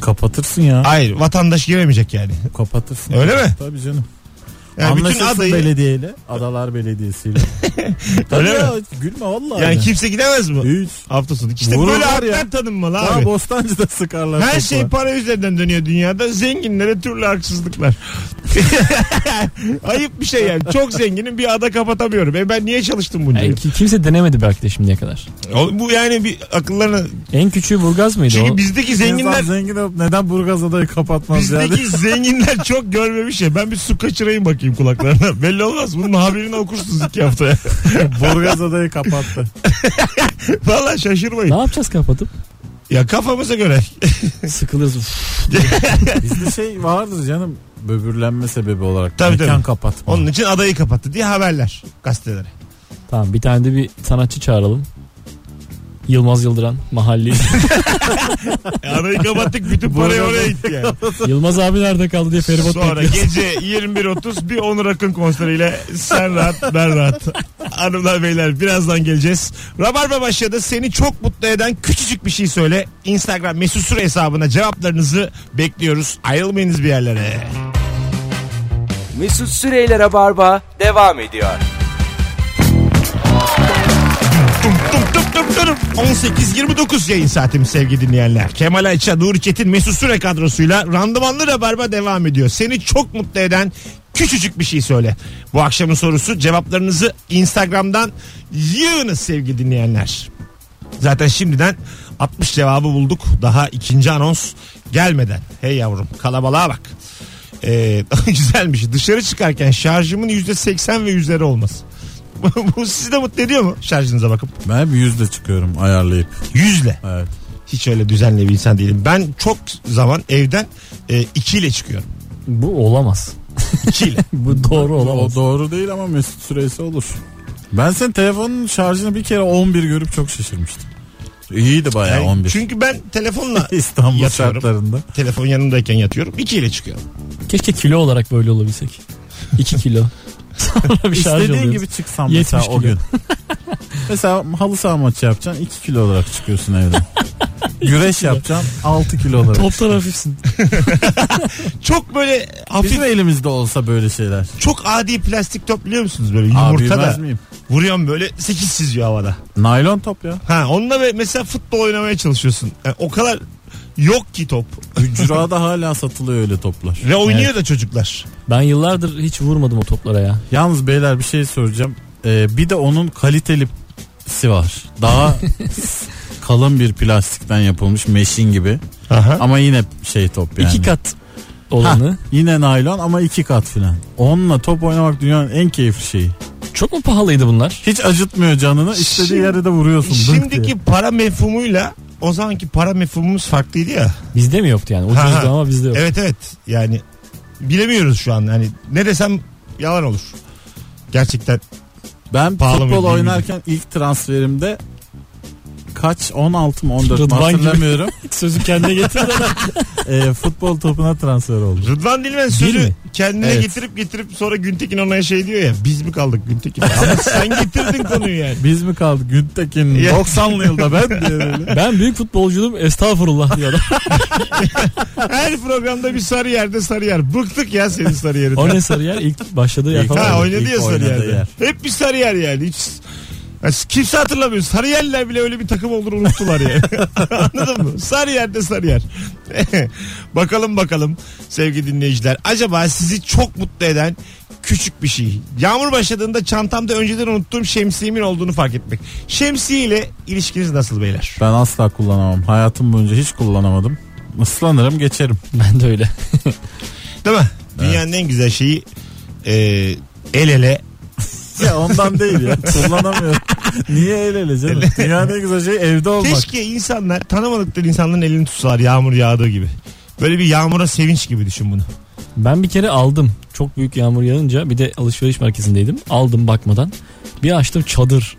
Speaker 3: Kapatırsın ya.
Speaker 2: Hayır vatandaş giremeyecek yani.
Speaker 3: Kapatırsın.
Speaker 2: Öyle mi?
Speaker 3: Tabii canım.
Speaker 2: Yani bütün
Speaker 3: Anlaşırsın
Speaker 2: adayı
Speaker 3: belediyeyle. Adalar Belediyesi'yle. Tabii
Speaker 2: Öyle
Speaker 3: ya, Gülme vallahi.
Speaker 2: yani kimse gidemez mi?
Speaker 3: Hiç.
Speaker 2: Hafta sonu. İşte
Speaker 3: Vururlar
Speaker 2: böyle
Speaker 3: ya.
Speaker 2: haklar tanınmalı
Speaker 3: Daha
Speaker 2: abi.
Speaker 3: Bostancı'da sıkarlar.
Speaker 2: Her
Speaker 3: topla.
Speaker 2: şey para üzerinden dönüyor dünyada. Zenginlere türlü haksızlıklar. Ayıp bir şey yani. Çok zenginim bir ada kapatamıyorum. E ben niye çalıştım bunca?
Speaker 4: Yani
Speaker 2: yıl?
Speaker 4: ki- kimse denemedi belki de şimdiye kadar.
Speaker 2: Oğlum Bu yani bir akıllarına...
Speaker 4: En küçüğü Burgaz mıydı
Speaker 2: Çünkü
Speaker 4: o?
Speaker 2: bizdeki
Speaker 3: Zenginler
Speaker 2: zenginler
Speaker 3: zengin olup neden Burgaz adayı kapatmaz yani?
Speaker 2: Bizdeki zenginler çok görmemiş ya. Ben bir su kaçırayım bakayım kulaklarına. Belli olmaz. Bunun haberini okursunuz iki haftaya.
Speaker 3: Burgaz adayı kapattı.
Speaker 2: Valla
Speaker 4: Ne
Speaker 2: şaşırmayın.
Speaker 4: yapacağız kapatıp?
Speaker 2: Ya kafamıza göre.
Speaker 4: Sıkılırız. Uf.
Speaker 3: Bizde şey vardır canım böbürlenme sebebi olarak.
Speaker 2: Tabii,
Speaker 3: Mekan
Speaker 2: tabii.
Speaker 3: kapatma.
Speaker 2: Onun için adayı kapattı diye haberler gazetelere.
Speaker 4: Tamam bir tane de bir sanatçı çağıralım. Yılmaz Yıldıran mahalli.
Speaker 2: E, adayı kapattık bütün parayı oraya gitti yani.
Speaker 4: Yılmaz abi nerede kaldı diye feribot
Speaker 2: Sonra
Speaker 4: bekliyor.
Speaker 2: gece 21.30 bir Onur Akın konseriyle sen rahat ben rahat. Hanımlar beyler birazdan geleceğiz. Rabarba başladı. Seni çok mutlu eden küçücük bir şey söyle. Instagram mesut süre hesabına cevaplarınızı bekliyoruz. Ayrılmayınız bir yerlere.
Speaker 1: Mesut Süreyler'e barba devam ediyor.
Speaker 2: Tum tum tum tum. 18-29 yayın saatimiz sevgili dinleyenler. Kemal Ayça, Nuri Çetin, Mesut Süre kadrosuyla randımanlı rabarba devam ediyor. Seni çok mutlu eden küçücük bir şey söyle. Bu akşamın sorusu cevaplarınızı Instagram'dan yığınız sevgili dinleyenler. Zaten şimdiden 60 cevabı bulduk. Daha ikinci anons gelmeden. Hey yavrum kalabalığa bak. Ee, güzelmiş. Dışarı çıkarken şarjımın %80 ve üzeri olması. Bu sizi de mutlu ediyor mu şarjınıza bakıp?
Speaker 3: Ben bir yüzle çıkıyorum ayarlayıp.
Speaker 2: Yüzle.
Speaker 3: Evet.
Speaker 2: Hiç öyle düzenli bir insan değilim. Ben çok zaman evden e, ikiyle çıkıyorum.
Speaker 4: Bu olamaz.
Speaker 2: İkiyle.
Speaker 4: Bu doğru
Speaker 3: O
Speaker 4: olamaz.
Speaker 3: doğru değil ama mesut süresi olur. Ben senin telefonun şarjını bir kere 11 görüp çok şaşırmıştım. İyiydi bayağı
Speaker 2: Yani
Speaker 3: 11.
Speaker 2: Çünkü ben telefonla
Speaker 3: İstanbul
Speaker 2: Yatıyorum.
Speaker 3: şartlarında.
Speaker 2: telefon yanımdayken yatıyorum. İkiyle çıkıyorum.
Speaker 4: Keşke kilo olarak böyle olabilsek. 2 kilo. Sonra bir şarj
Speaker 3: İstediğin
Speaker 4: oluyoruz.
Speaker 3: gibi çıksam
Speaker 4: 70
Speaker 3: mesela o
Speaker 4: kilo.
Speaker 3: gün. mesela halı saha maçı yapacaksın 2 kilo olarak çıkıyorsun evden. Güreş yapacağım 6 kilo olarak.
Speaker 4: Toptan hafifsin.
Speaker 2: Çok böyle hafif
Speaker 3: Bizim elimizde olsa böyle şeyler.
Speaker 2: çok adi plastik top biliyor musunuz böyle
Speaker 3: Abi
Speaker 2: yumurta
Speaker 3: bilmez
Speaker 2: da
Speaker 3: miyim?
Speaker 2: vuruyorsun böyle 8 çiziyor havada.
Speaker 3: Naylon top ya.
Speaker 2: Ha onunla be- mesela futbol oynamaya çalışıyorsun. Yani o kadar yok ki top.
Speaker 3: Hücrada hala satılıyor öyle toplar.
Speaker 2: Ve oynuyor da çocuklar.
Speaker 4: Ben yıllardır hiç vurmadım o toplara ya.
Speaker 3: Yalnız beyler bir şey soracağım. Ee, bir de onun kalitelisi var. Daha kalın bir plastikten yapılmış meşin gibi.
Speaker 2: Aha.
Speaker 3: Ama yine şey top yani.
Speaker 4: İki kat olanı.
Speaker 3: Hah, yine naylon ama iki kat filan. Onunla top oynamak dünyanın en keyifli şeyi.
Speaker 4: Çok mu pahalıydı bunlar?
Speaker 3: Hiç acıtmıyor canını. İstediği
Speaker 2: Şimdi-
Speaker 3: yere de vuruyorsun. dınk diye.
Speaker 2: Şimdiki para mefhumuyla o zamanki para mefhumumuz farklıydı ya.
Speaker 4: Bizde mi yoktu yani?
Speaker 2: Ha,
Speaker 4: Ucuzdu
Speaker 2: ha.
Speaker 4: ama bizde yok.
Speaker 2: Evet evet yani bilemiyoruz şu an. Hani ne desem yalan olur. Gerçekten
Speaker 3: Ben
Speaker 2: Pahalı mıydı,
Speaker 3: futbol
Speaker 2: bilmiyorum.
Speaker 3: oynarken ilk transferimde kaç 16 mı 14 mü
Speaker 4: Rıdvan gibi.
Speaker 3: hatırlamıyorum.
Speaker 4: Sözü kendine getir.
Speaker 3: Ee, futbol topuna transfer oldum.
Speaker 2: Rıdvan Dilmen sözü
Speaker 4: mi?
Speaker 2: kendine
Speaker 3: Evet.
Speaker 2: getirip getirip sonra Güntekin ona şey diyor ya biz mi kaldık Güntekin? Ama sen getirdin konuyu yani.
Speaker 3: Biz mi kaldık Güntekin
Speaker 2: Ya.
Speaker 3: 90'lı yılda ben diye böyle.
Speaker 4: ben büyük futbolcuyum estağfurullah diyor adam.
Speaker 2: Her programda bir sarı yerde sarı yer. Bıktık ya senin sarı
Speaker 4: O
Speaker 2: yerinden.
Speaker 4: ne sarı yer? İlk başladığı yer
Speaker 3: İlk-
Speaker 4: falan.
Speaker 2: Ha
Speaker 3: Tamam,
Speaker 2: oynadı
Speaker 3: ilk
Speaker 2: ya sarı
Speaker 3: oynadığı
Speaker 2: yerde.
Speaker 3: yer.
Speaker 2: Hep bir sarı yer yani. Hiç Ya Kimse hatırlamıyor. Sarıyerler bile öyle bir takım olduğunu unuttular yani. Anladın mı? Sarıyer de Sarıyer. bakalım bakalım sevgili dinleyiciler. Acaba sizi çok mutlu eden küçük bir şey. Yağmur başladığında çantamda önceden unuttuğum şemsiyemin olduğunu fark etmek. Şemsiye ile ilişkiniz nasıl beyler?
Speaker 3: Ben asla kullanamam. Hayatım boyunca hiç kullanamadım. Islanırım geçerim.
Speaker 4: Ben de öyle.
Speaker 2: Değil mi? Dünyanın en güzel şeyi e, el ele
Speaker 3: ya ondan değil ya. Kullanamıyorum. Niye el ele canım? Dünyanın en güzel şey evde olmak.
Speaker 2: Keşke insanlar tanımadıkları insanların elini tutsalar yağmur yağdığı gibi. Böyle bir yağmura sevinç gibi düşün bunu.
Speaker 4: Ben bir kere aldım. Çok büyük yağmur yağınca bir de alışveriş merkezindeydim. Aldım bakmadan. Bir açtım çadır.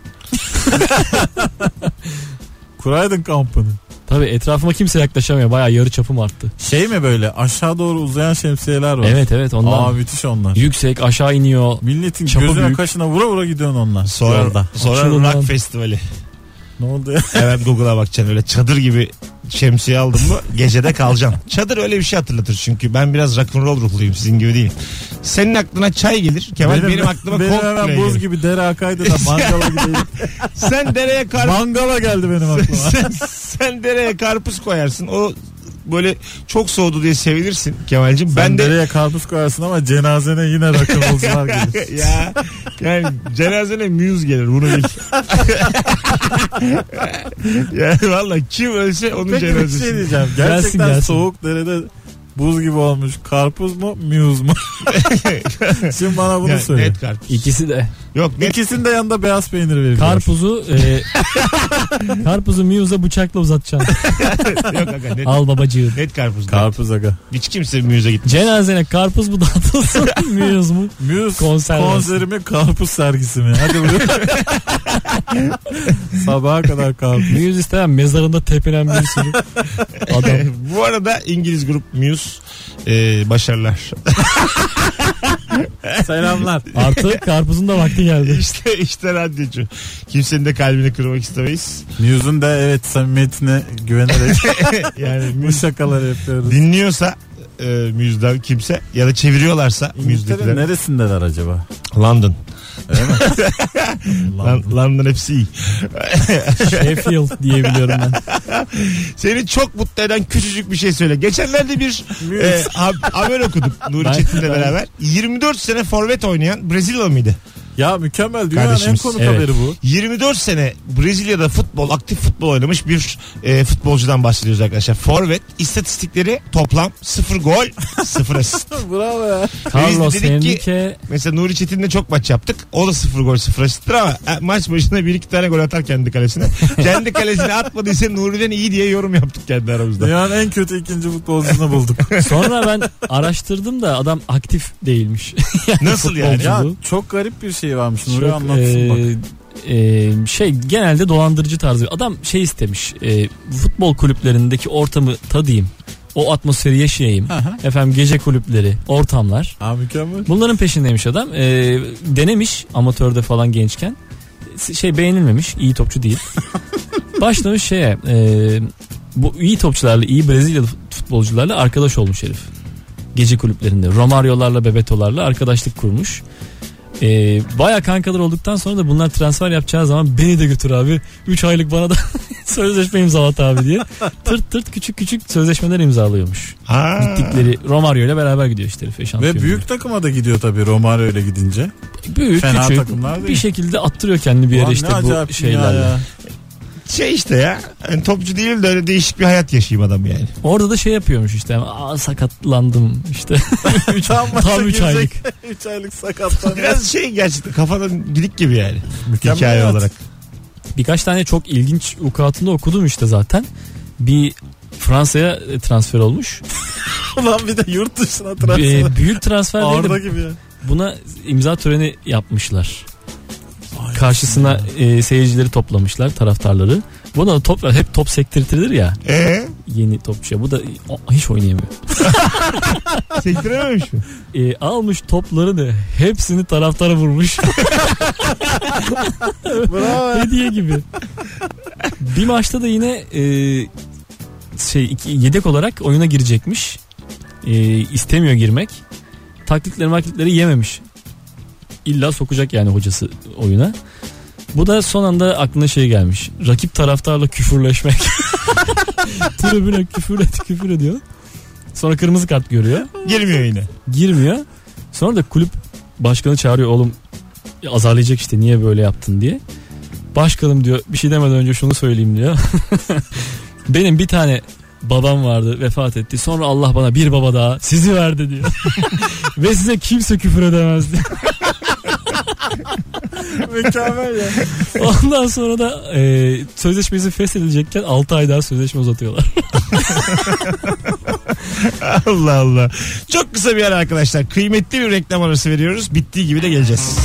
Speaker 3: Kuraydın kampını.
Speaker 4: Tabii etrafıma kimse yaklaşamıyor. Bayağı yarı çapım arttı.
Speaker 3: Şey mi böyle aşağı doğru uzayan şemsiyeler var.
Speaker 4: Evet evet ondan.
Speaker 3: Aa müthiş onlar.
Speaker 4: Yüksek aşağı iniyor.
Speaker 3: Milletin
Speaker 4: Çapı
Speaker 3: gözüne
Speaker 4: büyük.
Speaker 3: kaşına vura vura gidiyorsun onlar.
Speaker 2: Sonra,
Speaker 3: Yolda.
Speaker 2: sonra
Speaker 4: Açılın lan.
Speaker 2: rock festivali.
Speaker 3: Ne oldu ya?
Speaker 2: Hemen Google'a bakacaksın öyle çadır gibi şemsiye aldın mı gecede kalacaksın. Çadır öyle bir şey hatırlatır çünkü ben biraz rock'n'roll ruhluyum sizin gibi değilim. Senin aklına çay gelir Kemal benim, aklıma
Speaker 3: benim
Speaker 2: Coldplay
Speaker 3: hemen buz
Speaker 2: gelir.
Speaker 3: gibi dere akaydı da mangala gideyim.
Speaker 2: Sen dereye kar
Speaker 3: mangala geldi benim aklıma.
Speaker 2: sen, sen dereye karpuz koyarsın. O böyle çok soğudu diye sevinirsin Kemal'cim.
Speaker 3: ben
Speaker 2: Ben de
Speaker 3: dereye karpuz koyarsın ama cenazene yine rakımızlar gelir.
Speaker 2: ya yani cenazene muse gelir bunu bil. yani valla kim ölse onun
Speaker 3: Peki bir
Speaker 2: cenazesi.
Speaker 3: şey diyeceğim. Gerçekten
Speaker 4: Gelsin, gelsin.
Speaker 3: soğuk derede buz gibi olmuş. Karpuz mu muz mu? Şimdi bana bunu
Speaker 2: Yani
Speaker 3: söyle.
Speaker 2: net karpuz.
Speaker 4: İkisi de.
Speaker 2: Yok net
Speaker 3: İkisinin de yanında beyaz peynir veriyor.
Speaker 4: Karpuzu e, karpuzu Muse'a bıçakla uzatacaksın.
Speaker 2: yok aga net,
Speaker 4: Al babacığım.
Speaker 2: net karpuz.
Speaker 3: Karpuz aga.
Speaker 2: Hiç kimse müze gitmiyor.
Speaker 4: Cenazene karpuz mu dağıtılsın Muse mu?
Speaker 3: Muse
Speaker 4: Konser versin.
Speaker 3: konseri mi karpuz sergisi mi? Hadi buraya. Sabaha kadar karpuz.
Speaker 4: Muse istemem mezarında tepinen bir sürü adam.
Speaker 2: Bu arada İngiliz grup Muse e, başarılar.
Speaker 3: Selamlar.
Speaker 4: Artık karpuzun da vakti geldi.
Speaker 2: işte işte radyocu. Kimsenin de kalbini kırmak istemeyiz.
Speaker 3: Muse'un da evet samimiyetine güvenerek
Speaker 2: Yani
Speaker 3: bu
Speaker 2: Muse
Speaker 3: şakaları yapıyoruz.
Speaker 2: dinliyorsa e, Muse'den kimse ya da çeviriyorlarsa
Speaker 3: İngiltere
Speaker 2: Muse'dekiler.
Speaker 3: neresindeler acaba?
Speaker 2: London.
Speaker 3: Lan-
Speaker 2: London. London hepsi iyi.
Speaker 4: Sheffield diyebiliyorum ben.
Speaker 2: Seni çok mutlu eden küçücük bir şey söyle. Geçenlerde bir e, ha- haber okudum Nuri
Speaker 4: Ben-
Speaker 2: Çetin'le beraber. 24 sene forvet oynayan Brezilyalı mıydı?
Speaker 3: Ya mükemmel dünyanın
Speaker 2: Kardeşimiz,
Speaker 3: en konuk
Speaker 2: evet.
Speaker 3: haberi bu.
Speaker 2: 24 sene Brezilya'da futbol, aktif futbol oynamış bir e, futbolcudan bahsediyoruz arkadaşlar. Forvet, istatistikleri toplam 0 gol, 0 asist.
Speaker 3: Bravo ya.
Speaker 4: Carlos
Speaker 2: Biz dedik ki-
Speaker 4: Henrique
Speaker 2: Mesela Nuri Çetin'le çok maç yaptık. O da 0 gol 0 asisttir ama e, maç başına bir iki tane gol atar kendi kalesine. kendi kalesine atmadıysa Nuri'den iyi diye yorum yaptık kendi aramızda.
Speaker 3: Dünyanın en kötü ikinci futbolcusunu bulduk.
Speaker 4: sonra ben araştırdım da adam aktif değilmiş.
Speaker 2: Nasıl yani?
Speaker 4: futbolcu.
Speaker 3: ya
Speaker 4: Bu.
Speaker 3: çok garip bir şey varmış. Nuri
Speaker 4: Çok,
Speaker 3: anlatsın
Speaker 4: e,
Speaker 3: bak.
Speaker 4: e, şey genelde dolandırıcı tarzı. Adam şey istemiş. e, futbol kulüplerindeki ortamı tadayım. O atmosferi yaşayayım.
Speaker 3: Aha.
Speaker 4: Efendim gece kulüpleri, ortamlar.
Speaker 3: Aa, mükemmel.
Speaker 4: Bunların peşindeymiş adam. E, denemiş amatörde falan gençken. E, Şey beğenilmemiş. iyi topçu değil. Başlamış şeye. e, bu iyi topçularla, iyi Brezilyalı futbolcularla arkadaş olmuş herif. Gece kulüplerinde. Romario'larla, Bebeto'larla arkadaşlık kurmuş. Ee, Baya kankalar olduktan sonra da bunlar transfer yapacağı zaman beni de götür abi. 3 aylık bana da sözleşme imzalat abi diye. Tırt tırt küçük küçük sözleşmeler imzalıyormuş.
Speaker 2: Aa,
Speaker 4: Gittikleri Romario ile beraber gidiyor işte herif.
Speaker 3: Ve
Speaker 4: şampiyonluğa.
Speaker 3: büyük takıma da gidiyor tabii Romario ile gidince.
Speaker 4: büyük
Speaker 3: Fena
Speaker 4: küçük
Speaker 3: takımlar değil.
Speaker 4: bir şekilde attırıyor kendini bir yere
Speaker 3: Ulan
Speaker 4: işte
Speaker 3: ne acayip
Speaker 4: bu
Speaker 3: ya
Speaker 4: şeylerle.
Speaker 3: ya.
Speaker 2: Şey işte ya. Yani topçu değilim de öyle değişik bir hayat yaşayayım adam yani.
Speaker 4: Orada da şey yapıyormuş işte. Aa sakatlandım işte. üç,
Speaker 3: Tam maça
Speaker 4: tam 3
Speaker 3: girecek.
Speaker 4: aylık.
Speaker 3: 3 aylık sakatlanıyor.
Speaker 2: Biraz şey gerçekten kafadan gidik gibi yani.
Speaker 3: Mükemmel
Speaker 2: hikaye
Speaker 3: hayat.
Speaker 2: olarak.
Speaker 4: Birkaç tane çok ilginç vukuatını okudum işte zaten. Bir Fransa'ya e, transfer olmuş.
Speaker 3: Ulan bir de yurt dışına transfer.
Speaker 4: E, büyük transfer değil
Speaker 3: Arda
Speaker 4: de
Speaker 3: gibi ya.
Speaker 4: buna imza töreni yapmışlar. Karşısına e, seyircileri toplamışlar, taraftarları. Buna da top, hep top sektirtilir ya
Speaker 2: Eee?
Speaker 4: yeni topçuya. Bu da o- hiç oynayamıyor.
Speaker 2: Sektirememiş mi?
Speaker 4: E, almış toplarını hepsini taraftara vurmuş.
Speaker 3: Bravo.
Speaker 4: Hediye gibi. bir maçta da yine e, şey iki, yedek olarak oyuna girecekmiş. E, istemiyor girmek. Taklitleri maklitleri yememiş. İlla sokacak yani hocası oyuna. Bu da son anda aklına şey gelmiş. Rakip taraftarla küfürleşmek. Tribüne küfür et küfür ediyor. Sonra kırmızı kart görüyor
Speaker 2: Girmiyor yine.
Speaker 4: girmiyor. Sonra da kulüp başkanı çağırıyor oğlum ya azarlayacak işte niye böyle yaptın diye. Başkanım diyor bir şey demeden önce şunu söyleyeyim diyor. Benim bir tane babam vardı vefat etti. Sonra Allah bana bir baba daha sizi verdi diyor. Ve size kimse küfür edemez diyor.
Speaker 3: Mükemmel ya.
Speaker 4: Ondan sonra da e, sözleşmesi feshedilecekken 6 ay daha sözleşme uzatıyorlar.
Speaker 2: Allah Allah. Çok kısa bir ara arkadaşlar. Kıymetli bir reklam arası veriyoruz. Bittiği gibi de geleceğiz.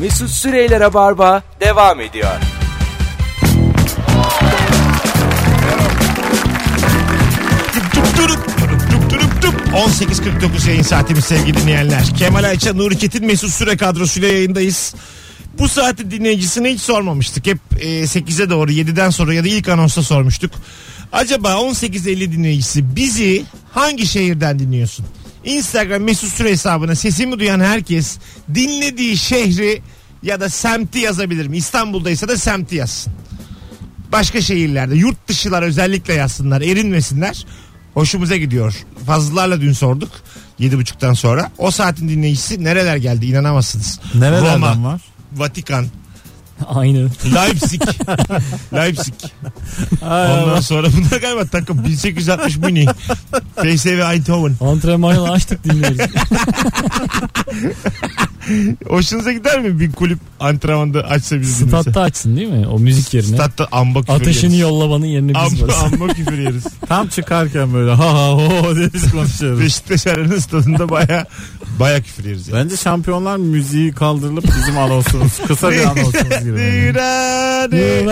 Speaker 1: Mesut Süreyler'e barba devam ediyor.
Speaker 2: Tup tup turup, turup tup turup tup. 18.49 yayın saatimiz sevgili dinleyenler. Kemal Ayça, Nuri Çetin, Mesut Süre kadrosuyla yayındayız. Bu saati dinleyicisine hiç sormamıştık. Hep e, 8'e doğru 7'den sonra ya da ilk anonsta sormuştuk. Acaba 18.50 dinleyicisi bizi hangi şehirden dinliyorsun? Instagram Mesut Süre hesabına sesimi duyan herkes dinlediği şehri ya da semti yazabilir mi? İstanbul'daysa da semti yazsın başka şehirlerde yurt dışılar özellikle yazsınlar erinmesinler. Hoşumuza gidiyor. Fazlalarla dün sorduk. 7.30'dan sonra. O saatin dinleyicisi nereler geldi inanamazsınız.
Speaker 3: Nerelerden
Speaker 2: Roma,
Speaker 3: var?
Speaker 2: Vatikan,
Speaker 4: Aynı.
Speaker 2: Leipzig. Leipzig. Ondan sonra bunlar galiba takım 1860 Münih. PSV Eindhoven.
Speaker 4: Antrenmanla açtık dinliyoruz.
Speaker 2: Hoşunuza gider mi bir kulüp antrenmanda açsa bizi dinlese?
Speaker 4: Statta açsın değil mi? O müzik yerine.
Speaker 2: Statta amba küfür
Speaker 4: Ateşini
Speaker 2: yeriz.
Speaker 4: yollamanın yerine biz
Speaker 2: Amba,
Speaker 4: varız.
Speaker 2: amba küfür yeriz.
Speaker 3: Tam çıkarken böyle ha ha ho ho diye biz konuşuyoruz.
Speaker 2: Beşiktaş Arena'nın stadında baya baya küfür yeriz. yani.
Speaker 3: Bence şampiyonlar müziği kaldırılıp bizim anonsumuz kısa bir anonsumuz gibi.
Speaker 2: Dirane.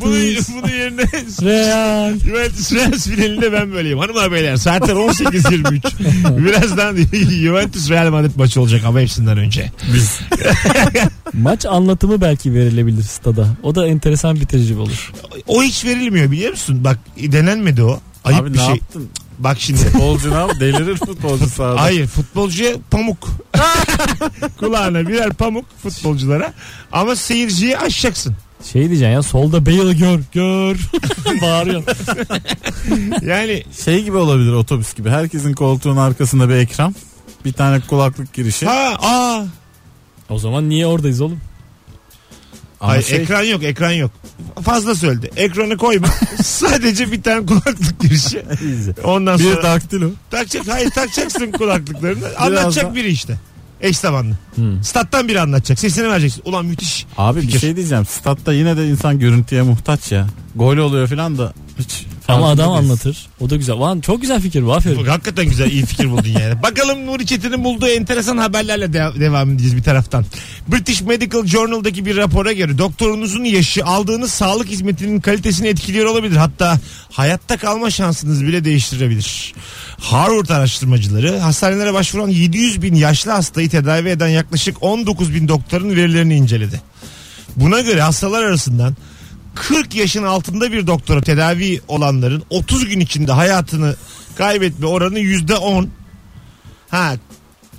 Speaker 2: Bunu,
Speaker 4: Juventus,
Speaker 2: bunu yerine
Speaker 4: Real.
Speaker 2: Juventus Real finalinde ben böyleyim. Hanımlar beyler saatler 18.23. Birazdan Juventus Real Madrid maçı olacak ama hepsinden önce.
Speaker 3: Biz.
Speaker 4: Maç anlatımı belki verilebilir stada. O da enteresan bitirici olur.
Speaker 2: O hiç verilmiyor biliyor musun? Bak denenmedi o. Ayıp
Speaker 3: Abi
Speaker 2: bir
Speaker 3: ne
Speaker 2: şey.
Speaker 3: yaptın?
Speaker 2: Bak şimdi.
Speaker 3: Futbolcuna delirir futbolcu sahada.
Speaker 2: Hayır futbolcuya pamuk. Kulağına birer pamuk futbolculara. Ama seyirciyi aşacaksın.
Speaker 4: Şey diyeceksin ya solda Bale'ı gör gör. Bağırıyor.
Speaker 2: Yani
Speaker 3: Şey gibi olabilir otobüs gibi. Herkesin koltuğun arkasında bir ekran. Bir tane kulaklık girişi.
Speaker 2: ha aa.
Speaker 4: O zaman niye oradayız oğlum?
Speaker 3: Ama
Speaker 2: Hayır,
Speaker 3: şey-
Speaker 2: ekran yok ekran yok. Fazla söyledi. Ekranı koyma. Sadece bir tane kulaklık girişi. Ondan sonra
Speaker 3: bir daktilo.
Speaker 2: takacak, hayır takacaksın kulaklıklarını. anlatacak
Speaker 3: da-
Speaker 2: biri işte. Eş zamanlı.
Speaker 4: Hmm.
Speaker 2: Stat'tan biri anlatacak. Sesini vereceksin. Ulan müthiş.
Speaker 3: Abi bir
Speaker 2: Fikir.
Speaker 3: şey diyeceğim. Statta yine de insan görüntüye muhtaç ya. Gol oluyor falan da hiç.
Speaker 4: Ama
Speaker 3: farkında
Speaker 4: adam
Speaker 3: değiliz.
Speaker 4: anlatır. O da güzel. Van çok güzel fikir bu aferin.
Speaker 2: Bak, hakikaten güzel iyi fikir buldun yani. Bakalım Nuri Çetin'in bulduğu enteresan haberlerle de- devam edeceğiz bir taraftan. British Medical Journal'daki bir rapora göre doktorunuzun yaşı aldığınız sağlık hizmetinin kalitesini etkiliyor olabilir. Hatta hayatta kalma şansınız bile değiştirebilir. Harvard araştırmacıları hastanelere başvuran 700 bin yaşlı hastayı tedavi eden yaklaşık 19 bin doktorun verilerini inceledi. Buna göre hastalar arasından 40 yaşın altında bir doktora tedavi olanların 30 gün içinde hayatını kaybetme oranı %10. Ha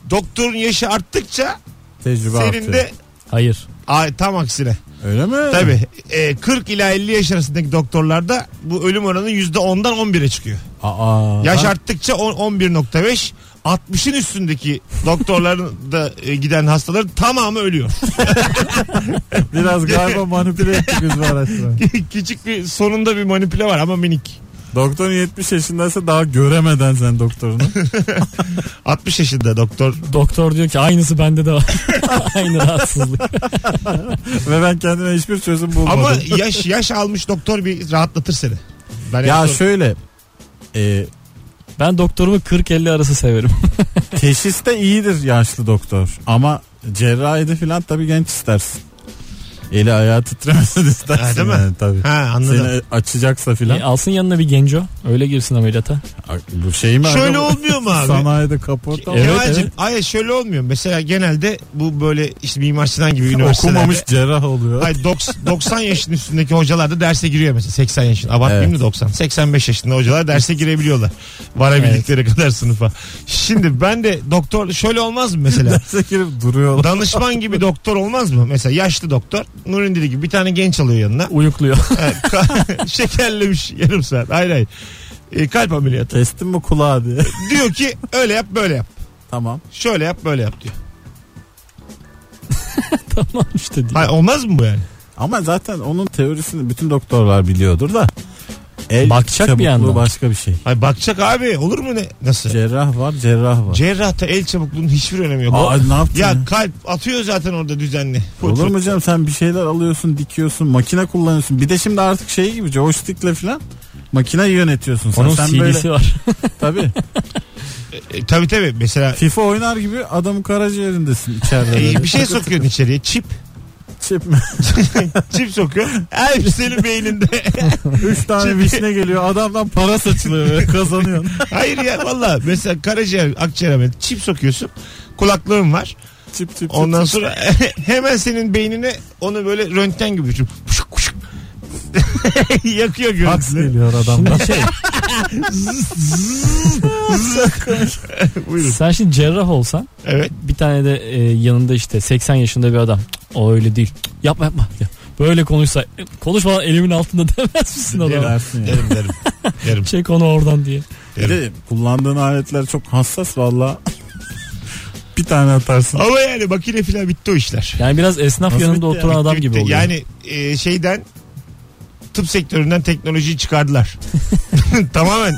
Speaker 2: doktorun yaşı arttıkça
Speaker 3: Tecrübe
Speaker 2: senin
Speaker 3: artıyor.
Speaker 2: de
Speaker 4: Hayır.
Speaker 2: Ay, tam aksine.
Speaker 3: Öyle mi?
Speaker 2: Tabii. E, 40 ila 50 yaş arasındaki doktorlarda bu ölüm oranı %10'dan 11'e çıkıyor.
Speaker 3: Aa,
Speaker 2: Yaş
Speaker 3: ben-
Speaker 2: arttıkça on- 11.5 60'ın üstündeki doktorların da e, giden hastaların tamamı ölüyor.
Speaker 3: Biraz galiba manipüle ettik biz bu araştırmayı.
Speaker 2: Küçük bir sonunda bir manipüle var ama minik.
Speaker 3: Doktor 70 yaşındaysa daha göremeden sen doktorunu.
Speaker 2: 60 yaşında doktor.
Speaker 4: Doktor diyor ki aynısı bende de var. Aynı rahatsızlık.
Speaker 3: Ve ben kendime hiçbir çözüm bulmadım.
Speaker 2: Ama yaş yaş almış doktor bir rahatlatır seni. Ben
Speaker 3: ya
Speaker 2: ya
Speaker 3: şöyle e,
Speaker 4: Ben doktorumu 40-50 arası severim.
Speaker 3: teşhiste iyidir yaşlı doktor ama cerrahide filan tabii genç istersin. Eli ayağı titremesin istersin.
Speaker 2: Ha, değil mi?
Speaker 3: Yani, tabii.
Speaker 2: Ha anladım.
Speaker 3: Seni açacaksa filan.
Speaker 4: E, alsın yanına bir genco. Öyle girsin ameliyata.
Speaker 3: Bu şey mi?
Speaker 2: Şöyle
Speaker 3: abi?
Speaker 2: olmuyor mu abi?
Speaker 3: Sanayide kaporta.
Speaker 4: Evet,
Speaker 2: Kemal'cim,
Speaker 4: evet.
Speaker 2: Hayır şöyle olmuyor. Mesela genelde bu böyle işte Mimar Sinan gibi üniversitelerde.
Speaker 3: Okumamış cerrah oluyor.
Speaker 2: Hayır, doks- 90 yaşın üstündeki hocalar da derse giriyor mesela 80 yaşın. Abartmayayım
Speaker 3: Evet.
Speaker 2: da 90. 85 yaşında hocalar derse girebiliyorlar. Varabildikleri kadar sınıfa. Şimdi ben de doktor şöyle olmaz mı mesela?
Speaker 3: Derse girip duruyorlar.
Speaker 2: Danışman gibi doktor olmaz mı? Mesela yaşlı doktor Nur'un dediği gibi bir tane genç alıyor yanına.
Speaker 4: Uyukluyor.
Speaker 2: Evet, ka- Şekerlemiş yarım saat. Hayır hayır. E, kalp ameliyatı.
Speaker 3: Kestin mi kulağı diye.
Speaker 2: Diyor ki öyle yap böyle yap.
Speaker 3: tamam.
Speaker 2: Şöyle yap böyle yap diyor.
Speaker 4: tamam işte diyor.
Speaker 2: Hayır, olmaz mı bu yani?
Speaker 3: Ama zaten onun teorisini bütün doktorlar biliyordur da. El
Speaker 4: Bakacak bir
Speaker 3: çabukluğu
Speaker 4: yandan.
Speaker 3: başka bir şey.
Speaker 2: Hayır, bakacak abi olur mu ne? Nasıl?
Speaker 3: Cerrah var, cerrah var.
Speaker 2: Cerrahta el çabukluğunun hiçbir önemi yok.
Speaker 3: Aa, ne yaptın?
Speaker 2: Ya
Speaker 3: ya?
Speaker 2: kalp atıyor zaten orada düzenli. Fut
Speaker 3: Olur
Speaker 2: fut.
Speaker 3: mu canım sen bir şeyler alıyorsun, dikiyorsun, makine kullanıyorsun. Bir de şimdi artık şey gibi joystickle falan makine yönetiyorsun sen.
Speaker 4: Onun
Speaker 3: sen
Speaker 4: CD'si var.
Speaker 3: tabii.
Speaker 2: E, tabii tabii mesela
Speaker 3: FIFA oynar gibi adamın karaciğerindesin içeride.
Speaker 2: e,
Speaker 3: böyle.
Speaker 2: bir şey sokuyorsun içeriye çip.
Speaker 3: Çip mi?
Speaker 2: Çip sokuyor. Her şey senin beyninde.
Speaker 3: Üç tane vişne geliyor adamdan para saçılıyor böyle kazanıyor.
Speaker 2: Hayır ya valla mesela karaciğer akciğer ameliyatı çip sokuyorsun. Kulaklığın var.
Speaker 3: Çip çip çip.
Speaker 2: Ondan
Speaker 3: çip.
Speaker 2: sonra hemen senin beynine onu böyle röntgen gibi düşün. Puşuk puşuk. Yakıyor
Speaker 3: Fax
Speaker 2: görüntüsü.
Speaker 3: geliyor adamdan.
Speaker 4: şey,
Speaker 2: Buyurun.
Speaker 4: Sen şimdi cerrah olsan
Speaker 2: Evet.
Speaker 4: bir tane de e, yanında işte 80 yaşında bir adam. "Cık, O öyle değil. Cık, Yapma yapma. Ya, Böyle konuşsa konuşma lan, elimin altında demez misin adama?
Speaker 3: Dersin ya.
Speaker 2: Derim derim. Derim.
Speaker 4: Çek onu oradan diye.
Speaker 3: Bir de kullandığın aletler çok hassas valla. bir tane atarsın.
Speaker 2: Ama yani makine filan bitti o işler.
Speaker 4: Yani biraz esnaf
Speaker 3: Nasıl bitti
Speaker 4: yanında
Speaker 3: ya?
Speaker 4: oturan adam
Speaker 2: Bitti,
Speaker 4: gibi
Speaker 2: bitti.
Speaker 4: oluyor.
Speaker 2: Yani e, şeyden tıp sektöründen teknolojiyi çıkardılar. Tamamen.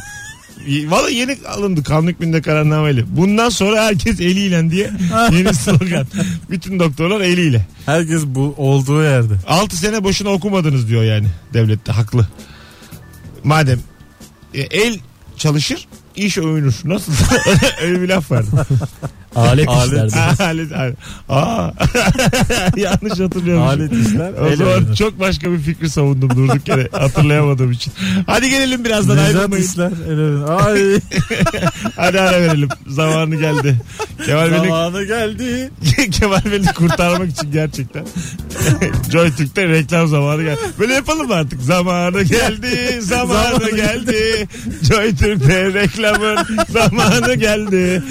Speaker 2: Valla yeni alındı kanun hükmünde kararnameyle. Bundan sonra herkes eliyle diye yeni slogan. Bütün doktorlar eliyle.
Speaker 3: Herkes bu olduğu yerde.
Speaker 2: 6 sene boşuna okumadınız diyor yani devlette haklı. Madem e, el çalışır iş övünür. Nasıl? Öyle bir laf vardı.
Speaker 4: Alet
Speaker 3: Alet.
Speaker 4: işlerde.
Speaker 2: alet, alet. Aa. Yanlış hatırlıyorum.
Speaker 3: Alet işler.
Speaker 2: O
Speaker 3: el
Speaker 2: zaman
Speaker 3: oyunu.
Speaker 2: çok başka bir fikri savundum durduk yere hatırlayamadığım için. Hadi gelelim birazdan
Speaker 3: Necat
Speaker 2: ayrılmayın.
Speaker 3: işler. el oyunu. Ay
Speaker 2: Hadi ara verelim. Zamanı geldi. Kemal beni,
Speaker 3: zamanı geldi.
Speaker 2: Kemal beni kurtarmak için gerçekten. Joy Türk'te reklam zamanı geldi. Böyle yapalım mı artık? Zamanı geldi, zamanı
Speaker 3: Zamanı
Speaker 2: geldi. Joy Türk'te reklamın zamanı geldi.